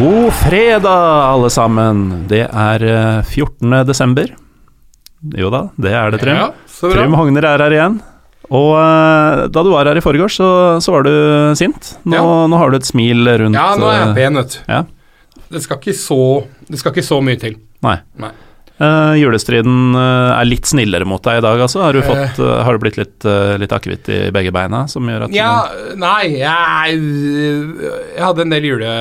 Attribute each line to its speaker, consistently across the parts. Speaker 1: God fredag, alle sammen. Det er eh, 14. desember. Jo da, det er det, Trym.
Speaker 2: Ja, så bra.
Speaker 1: Trym Hogner er her igjen. Og eh, da du var her i forgårs, så, så var du sint. Nå,
Speaker 2: Ja.
Speaker 1: nå har du et smil rundt
Speaker 2: Ja, nå er jeg
Speaker 1: eh,
Speaker 2: pen, vet du.
Speaker 1: Ja.
Speaker 2: Det skal ikke så, det skal ikke så mye til.
Speaker 1: Nei.
Speaker 2: Nei.
Speaker 1: Eh, julestriden eh, er litt snillere mot deg i dag, altså. Har du, fått, eh, har du blitt litt, uh, litt akevitt i begge beina, som gjør at
Speaker 2: Ja, nei, jeg, jeg hadde en del jule...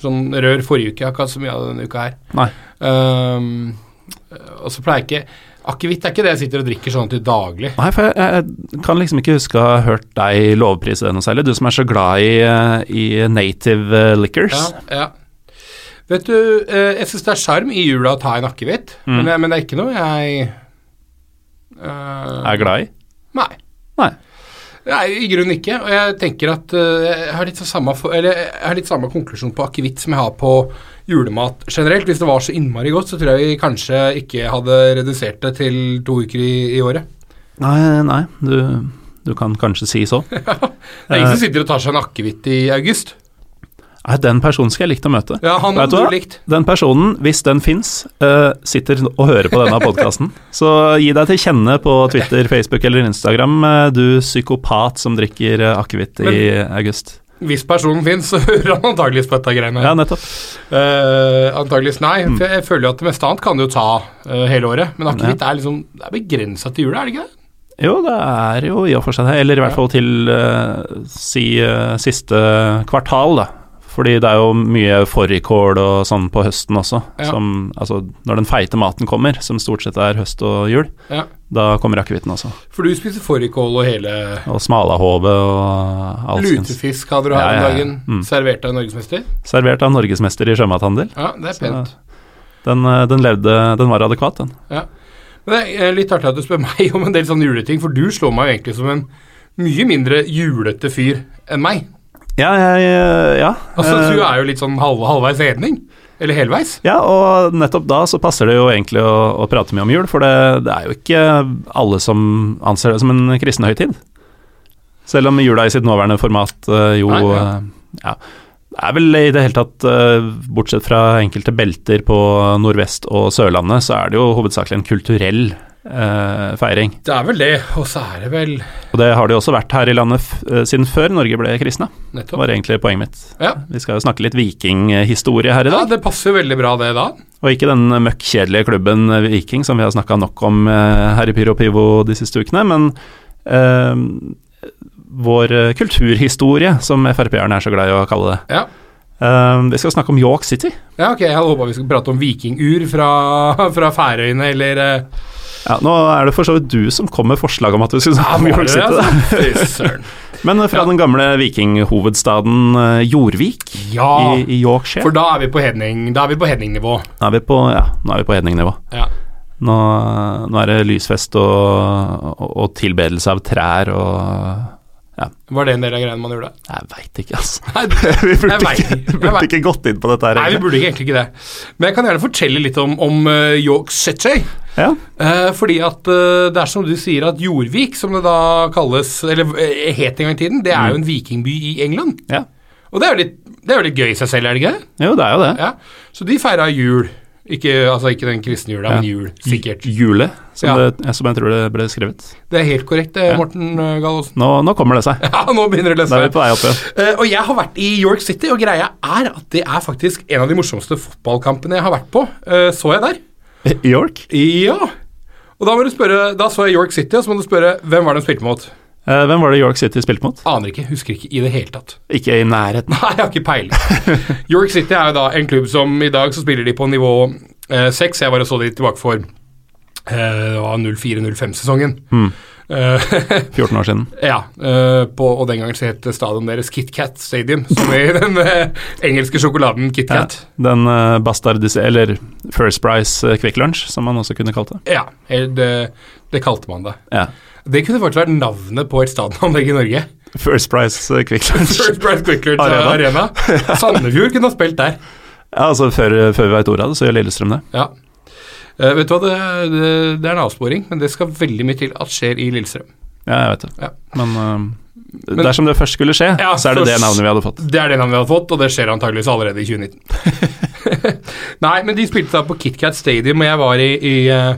Speaker 2: Sånn rør forrige uke, jeg har ikke hatt så mye av det denne uka her.
Speaker 1: Nei.
Speaker 2: Ehm, og så pleier jeg ikke... Akevitt er ikke det jeg sitter og drikker sånn til daglig.
Speaker 1: Nei, for jeg, jeg kan liksom ikke huske å ha hørt deg lovprise det noe særlig. Du som er så glad i, eh, i native eh,
Speaker 2: Ja,
Speaker 1: liquors.
Speaker 2: ja. Vet du, eh, jeg syns det er sjarm i jula å ta en akevitt,
Speaker 1: Mm.
Speaker 2: men, jeg- men det er ikke noe jeg eh,
Speaker 1: Er glad i?
Speaker 2: Nei.
Speaker 1: Nei.
Speaker 2: Nei, I grunnen ikke. Og jeg tenker at øh, jeg, har litt så samme, for, eller, jeg har litt samme konklusjon på akevitt som jeg har på julemat generelt. Hvis det var så innmari godt, så tror jeg vi kanskje ikke hadde redusert det til to uker i, i året.
Speaker 1: Nei, nei, du, du kan kanskje si så.
Speaker 2: Det er ingen som sitter og tar seg en akevitt i august.
Speaker 1: Nei, den personen skal jeg likt å møte.
Speaker 2: Ja, han
Speaker 1: Vet du
Speaker 2: hadde
Speaker 1: hva?
Speaker 2: du likt.
Speaker 1: Den personen, hvis den fins, sitter og hører på denne podkasten. Så gi deg til kjenne på Twitter, Facebook eller Instagram, eh, du psykopat som drikker eh, akevitt i august.
Speaker 2: Hvis personen fins, så hører han antageligvis på dette greiene.
Speaker 1: Ja, nettopp.
Speaker 2: Eh, antageligvis nei. For jeg føler jo at det meste annet kan du jo ta eh, hele året. Men akevitt er liksom Det er begrensa til jula, er det ikke det?
Speaker 1: Jo, det er jo i og for seg det. Eller i hvert fall til eh, si eh, siste kvartal, da. Fordi det er jo mye fårikål og sånn på høsten også.
Speaker 2: Ja.
Speaker 1: Som, altså, når den feite maten kommer, som stort sett er høst og jul,
Speaker 2: Ja.
Speaker 1: da kommer akevitten også.
Speaker 2: For du spiser fårikål og hele
Speaker 1: Og smalahove og alskens.
Speaker 2: Lutefisk hadde du her
Speaker 1: Ja, ja, ja.
Speaker 2: om dagen.
Speaker 1: Mm.
Speaker 2: Servert av norgesmester.
Speaker 1: Servert av norgesmester i sjømathandel.
Speaker 2: Ja, det er pent.
Speaker 1: Den, eh, den levde Den var adekvat, den.
Speaker 2: Ja. Men det er eh, litt artig at du spør meg om en del sånne juleting, for du slår meg jo egentlig som en mye mindre julete fyr enn meg.
Speaker 1: Ja, jeg eh, Ja.
Speaker 2: Altså,
Speaker 1: eh,
Speaker 2: du er jo litt sånn halv, halvveis edning. Eller helveis.
Speaker 1: Ja, og nettopp da så passer det jo egentlig å, å prate mye om jul, for det, det er jo ikke alle som anser det som en kristen høytid. Selv om jula i sitt nåværende format eh, jo
Speaker 2: Nei, ja.
Speaker 1: eh, ja. Det er vel i det hele tatt, eh, bortsett fra enkelte belter på Nordvest- og Sørlandet, så er det jo hovedsakelig en kulturell eh, feiring.
Speaker 2: Det er vel det, og så er det vel
Speaker 1: Og det har det jo også vært her i landet f eh, siden før Norge ble kristna,
Speaker 2: nettopp
Speaker 1: var egentlig poenget mitt.
Speaker 2: Ja.
Speaker 1: Vi skal jo snakke litt vikinghistorie her i
Speaker 2: ja,
Speaker 1: dag.
Speaker 2: det passer jo veldig bra, det da.
Speaker 1: Og ikke den møkk kjedelige klubben eh, Viking som vi har snakka nok om eh, her i Pyro Pivo de siste ukene, men eh, vår eh, kulturhistorie, som Frp-erne er så glad i å kalle det.
Speaker 2: Ja.
Speaker 1: Eh, vi skal snakke om York City.
Speaker 2: Ja, ok, Jeg hadde håpa vi skulle prate om vikingur fra, fra Færøyene, eller eh,
Speaker 1: Ja, nå er det for så vidt du som kom med forslag om at vi skulle snakke om
Speaker 2: var
Speaker 1: York
Speaker 2: det
Speaker 1: City.
Speaker 2: det,
Speaker 1: da.
Speaker 2: altså? Fy Søren.
Speaker 1: Men eh, fra den gamle vikinghovedstaden eh, Jorvik
Speaker 2: Ja,
Speaker 1: i, i Yorkshire
Speaker 2: Ah. for da er vi på hedning, da er vi på hedningnivå.
Speaker 1: nå er vi på, ja, nå er vi på hedningnivå.
Speaker 2: Ja.
Speaker 1: Nå, nå er det lysfest og, og, og tilbedelse av trær og
Speaker 2: Var det en del av greiene man gjorde?
Speaker 1: Jeg veit ikke, altså.
Speaker 2: Nei,
Speaker 1: Vi burde,
Speaker 2: Jeg vet
Speaker 1: ikke,
Speaker 2: ikke. Jeg
Speaker 1: burde
Speaker 2: vet-
Speaker 1: ikke gått inn på dette her.
Speaker 2: Nei, vi
Speaker 1: egentlig.
Speaker 2: burde ikke egentlig ikke det. Men jeg kan gjerne fortelle litt om, om eh, York City.
Speaker 1: Ja.
Speaker 2: Eh, fordi at eh, det er som du sier at Jorvik, som det da kalles, eller eh, het en gang i tiden, det er jo en vikingby i England.
Speaker 1: Ja.
Speaker 2: Og det er jo litt, det er jo litt gøy i seg selv, er det ikke det?
Speaker 1: Jo, det er jo det.
Speaker 2: Ja. Så de feira jul. Ikke, altså ikke den kristne jula, men jul, sikkert.
Speaker 1: J- Jule, som,
Speaker 2: Ja.
Speaker 1: det, som jeg tror det ble skrevet.
Speaker 2: Det er helt korrekt, eh, Morten eh, Gallosen.
Speaker 1: Nå, nå kommer det seg.
Speaker 2: Ja, nå begynner det å
Speaker 1: Da
Speaker 2: løse
Speaker 1: er vi på vei opp igjen.
Speaker 2: Eh, og jeg har vært i York City, og greia er at det er faktisk en av de morsomste fotballkampene jeg har vært på. Eh, så jeg der?
Speaker 1: York?
Speaker 2: Ja. Og da må du spørre, da så jeg York City, og så må du spørre hvem var det de spilte mot?
Speaker 1: Eh, hvem var det York City spilte mot?
Speaker 2: Aner ikke, husker ikke i det hele tatt.
Speaker 1: Ikke i nærheten.
Speaker 2: Nei, jeg har ikke peiling. York City er jo da en klubb som i dag så spiller de på nivå eh, 6. Jeg var og så de tilbake for eh, 04-05-sesongen. Eh,
Speaker 1: 14 år siden.
Speaker 2: ja, eh, på, og den gangen så het stadion deres KitKat Stadium, som i den eh, engelske sjokoladen
Speaker 1: Ja,
Speaker 2: KitKat.
Speaker 1: den uh, bastardis... Eller First Price eh, Quick Lunch, som man også kunne kalt det.
Speaker 2: Ja, eh, det, det kalte man det.
Speaker 1: Ja.
Speaker 2: Det kunne faktisk vært navnet på et stadionanlegg i Norge.
Speaker 1: First Price eh, Quick Lunch.
Speaker 2: First Price Quickler
Speaker 1: Arena.
Speaker 2: Arena. Sandefjord kunne ha spilt der.
Speaker 1: Ja, altså Før, før vi veit ordet av det, så gjør Lillestrøm det.
Speaker 2: Ja. Eh, vet du hva, det, det, det er en avsporing, men det skal veldig mye til at skjer i Lillestrøm.
Speaker 1: Ja, jeg vet det.
Speaker 2: Ja.
Speaker 1: Men, eh, dersom det først skulle skje,
Speaker 2: Ja,
Speaker 1: så er det det
Speaker 2: først-
Speaker 1: navnet vi hadde fått.
Speaker 2: Det er det navnet vi hadde fått, og det skjer antageligvis allerede i 2019. Nei, men de spilte da på KitKat Stadium, og jeg var i, i eh,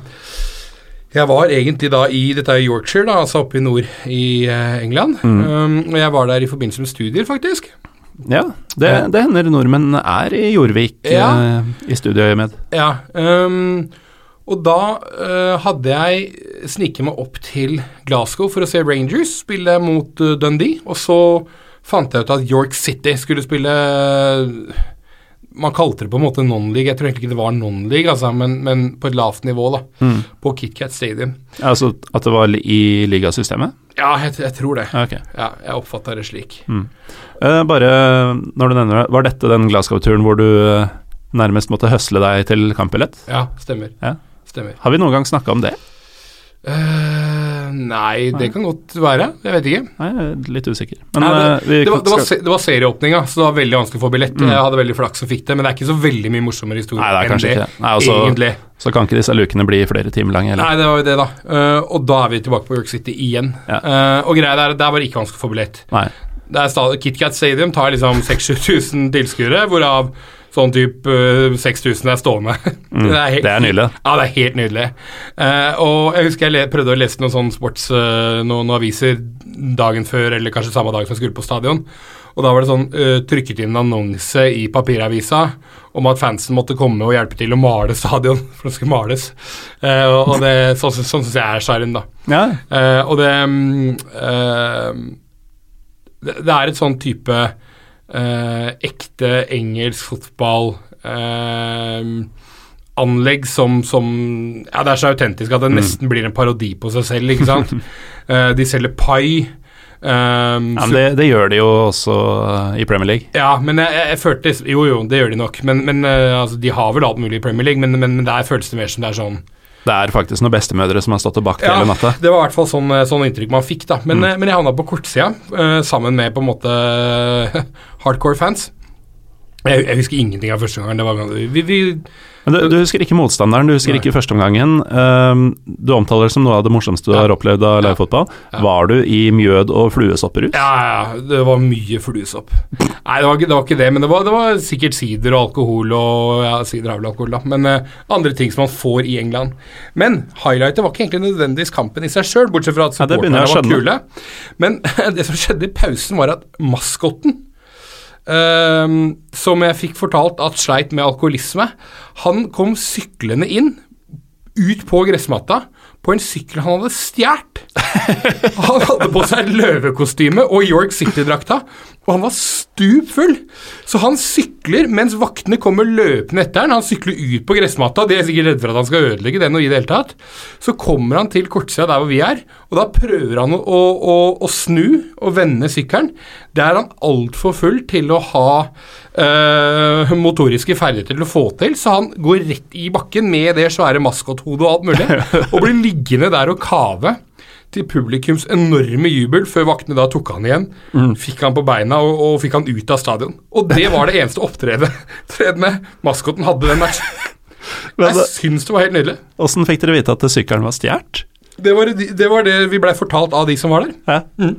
Speaker 2: Jeg var egentlig da i Dette er jo Yorkshire, da, altså oppe i nord i eh, England. Um, og jeg var der i forbindelse med studier, faktisk.
Speaker 1: Ja, det, det hender nordmenn er i Jorvik
Speaker 2: Ja.
Speaker 1: eh, i studieøyemed.
Speaker 2: Ja, ehm, og da eh, hadde jeg sniket meg opp til Glasgow for å se Rangers spille mot eh, Dundee, og så fant jeg ut at York City skulle spille eh, Man kalte det på en måte non-league, jeg tror egentlig ikke det var non-league, altså, men, men på et lavt nivå, da. På KitKat Stadium.
Speaker 1: Altså at det var li- i ligasystemet?
Speaker 2: Ja, jeg, jeg tror det.
Speaker 1: Ja, Ok.
Speaker 2: Ja, jeg oppfatta det slik.
Speaker 1: Eh, bare når du nevner det, var dette den Glasgow-turen hvor du eh, nærmest måtte høsle deg til kampbillett?
Speaker 2: Ja, stemmer.
Speaker 1: Ja.
Speaker 2: Stemmer.
Speaker 1: Har vi noen gang snakka om det?
Speaker 2: Eh, nei, det kan godt være. Jeg vet ikke.
Speaker 1: Nei, jeg er litt usikker. Men
Speaker 2: Nei,
Speaker 1: eh,
Speaker 2: det,
Speaker 1: vi
Speaker 2: det, var, det, var,
Speaker 1: skal- Mm.
Speaker 2: se- det var serieåpninga, så det var veldig vanskelig å få billett. Jeg hadde veldig flaks som fikk det, men det er ikke så veldig mye morsommere historie
Speaker 1: Nei, det er
Speaker 2: enn
Speaker 1: kanskje
Speaker 2: det.
Speaker 1: ikke det. Nei, altså-
Speaker 2: egentlig.
Speaker 1: så kan ikke disse lukene bli flere timer lange.
Speaker 2: Nei,
Speaker 1: Eller?
Speaker 2: det var jo det, da. Eh, og da er vi tilbake på York City igjen.
Speaker 1: Ja.
Speaker 2: Eh, og greia der, der var det ikke vanskelig å få billett.
Speaker 1: Nei.
Speaker 2: Det er sta- KitKat Stadium tar liksom 6000-7000 tilskuere, hvorav sånn type eh, 6000 er stående. det er, helt-
Speaker 1: Mm. det er nydelig.
Speaker 2: Ja, det er helt nydelig. Eh, og jeg husker jeg le, prøvde å lese noen sånne sports, eh, noen aviser dagen før, eller kanskje samme dag som jeg skulle på stadion. Og da var det sånn eh, trykket inn en annonse i papiravisa om at fansen måtte komme og hjelpe til å male stadion, for det skulle males. Eh, og- og det, sånn, sånn syns jeg er sjarmen, da.
Speaker 1: Ja,
Speaker 2: Eh, og det, mm, eh, det Det er et sånn type eh, ekte engelsk fotball eh, Anlegg som, som Ja, det er så autentisk
Speaker 1: Mm.
Speaker 2: at det nesten blir en parodi på seg selv, ikke sant? Eh, de selger pai. eh,
Speaker 1: ja men det, det gjør de jo også eh, i Premier League.
Speaker 2: ja, men jeg, jeg, jeg følte Jo, jo, det gjør de nok. Men, men eh, altså, de har vel alt mulig i Premier League, men, men, men der føles det mer som det er sånn
Speaker 1: Det er faktisk noen bestemødre som har stått og bakt hele natta. Mm.
Speaker 2: Det var i hvert fall sånn, sånn inntrykk man fikk, da. Men, eh, men jeg havna på kortsida eh, sammen med på en måte hardcore fans. Jeg, jeg husker ingenting av første gangen. Det var, vi, vi,
Speaker 1: Men du, du husker ikke motstanderen, du husker
Speaker 2: Nei.
Speaker 1: ikke førsteomgangen. Um, du omtaler det som noe av det morsomste du
Speaker 2: Ja.
Speaker 1: har opplevd av
Speaker 2: Ja.
Speaker 1: livefotball. Var du i mjød og fluesopperus?
Speaker 2: ja, ja, det var mye fluesopp. Nei, det var, ikke- det var ikke det, men det var, det var sikkert sider og alkohol og ja, sider er vel alkohol, da. Men eh, andre ting som man får i England. Men highlightet var ikke egentlig nødvendigvis kampen i seg sjøl, bortsett fra at
Speaker 1: Ja, det begynner
Speaker 2: supporterne var
Speaker 1: jeg å
Speaker 2: kule. Men det som skjedde i pausen, var at maskotten Ehm, som jeg fikk fortalt at sleit med alkoholisme. Han kom syklende inn, ut på gressmatta, på en sykkel han hadde stjålet. Han hadde på seg løvekostyme og York City-drakta, og han var stup full. Så han sykler mens vaktene kommer løpende etter han. Han sykler ut på gressmatta, de er sikkert redde for at han skal ødelegge den. og i det hele tatt. Så kommer han til kortsida der hvor vi er, og da prøver han å, å, å, å snu og vende sykkelen. Det er han altfor full til å ha eh, motoriske ferdigheter til å få til, så han går rett i bakken med det svære maskothodet og alt mulig, og blir liggende der og kave til publikums enorme jubel før vaktene da tok han igjen. Fikk han på beina og, og fikk han ut av stadion. Og det var det eneste opptredende maskoten hadde den matchen.
Speaker 1: Men
Speaker 2: Jeg syns det var helt nydelig.
Speaker 1: Åssen fikk dere vite at sykkelen var stjålet?
Speaker 2: Det var det, det var det vi blei fortalt av de som var der.
Speaker 1: Hæ?
Speaker 2: Mm.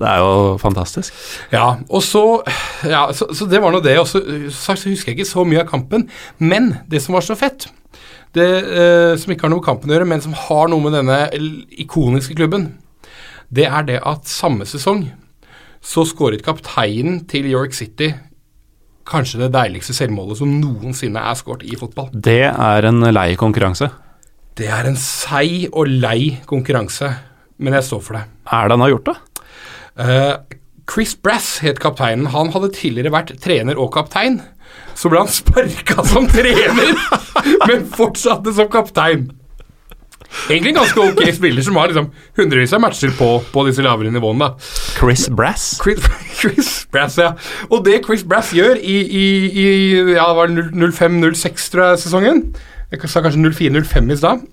Speaker 1: Det er jo fantastisk.
Speaker 2: Ja, og så, ja, så, så det var nå det. Og så, så husker jeg ikke så mye av kampen. Men det som var så fett, det eh, som ikke har noe med kampen å gjøre, men som har noe med denne l- ikoniske klubben, det er det at samme sesong så skåret kapteinen til York City kanskje det deiligste selvmålet som noensinne er skåret i fotball.
Speaker 1: Det er en lei konkurranse.
Speaker 2: Det er en seig og lei konkurranse, men jeg står for det.
Speaker 1: Er det han har gjort det?
Speaker 2: Eh, Chris Brass het kapteinen. Han hadde tidligere vært trener og kaptein. Så ble han sparka som trener, men fortsatte som kaptein. Egentlig en ganske ok spiller som har liksom hundrevis av matcher på, på disse lavere nivåene. da.
Speaker 1: Chris Brass?
Speaker 2: Chris, Chris Brass, ja. Og det Chris Brass gjør i, i, i ja, det var 05-06, tror jeg, sesongen Jeg sa kanskje 04-05 i stad.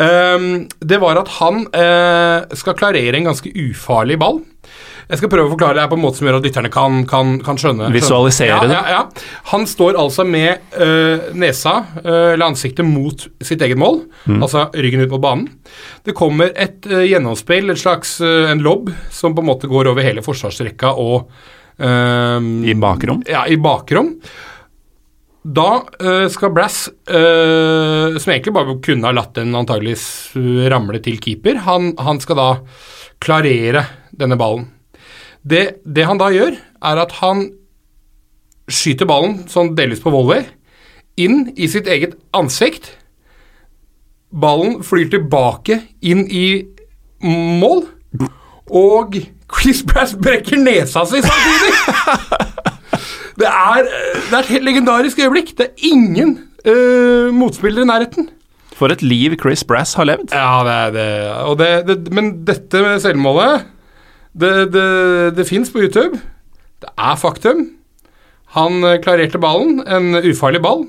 Speaker 2: Ehm, det var at han eh, skal klarere en ganske ufarlig ball. Jeg skal prøve å forklare det her på en måte som gjør at lytterne kan, kan, kan skjønne. skjønne-
Speaker 1: Visualisere
Speaker 2: ja,
Speaker 1: det.
Speaker 2: Ja, ja. Han står altså med eh, nesa, eh, eller ansiktet, mot sitt eget mål. Altså ryggen ut mot banen. Det kommer et eh, gjennomspill, et slags, eh, en lobb, som på en måte går over hele forsvarsrekka og eh,
Speaker 1: I bakrom?
Speaker 2: ja, i bakrom. Da eh, skal Brass, eh, som egentlig bare kunne ha latt den antageligvis eh, ramle til keeper, han, han skal da klarere denne ballen. Det, det han da gjør, er at han skyter ballen, sånn delvis på volley, inn i sitt eget ansikt. Ballen flyr tilbake inn i mål, og Chris Brass brekker nesa si samtidig! Det er, det er et helt legendarisk øyeblikk. Det er ingen eh, motspillere i nærheten.
Speaker 1: For et liv Chris Brass har levd.
Speaker 2: Ja, det er det. Og det, det men dette med selvmålet Det, det, det fins på YouTube. Det er faktum. Han eh, klarerte ballen, en ufarlig ball,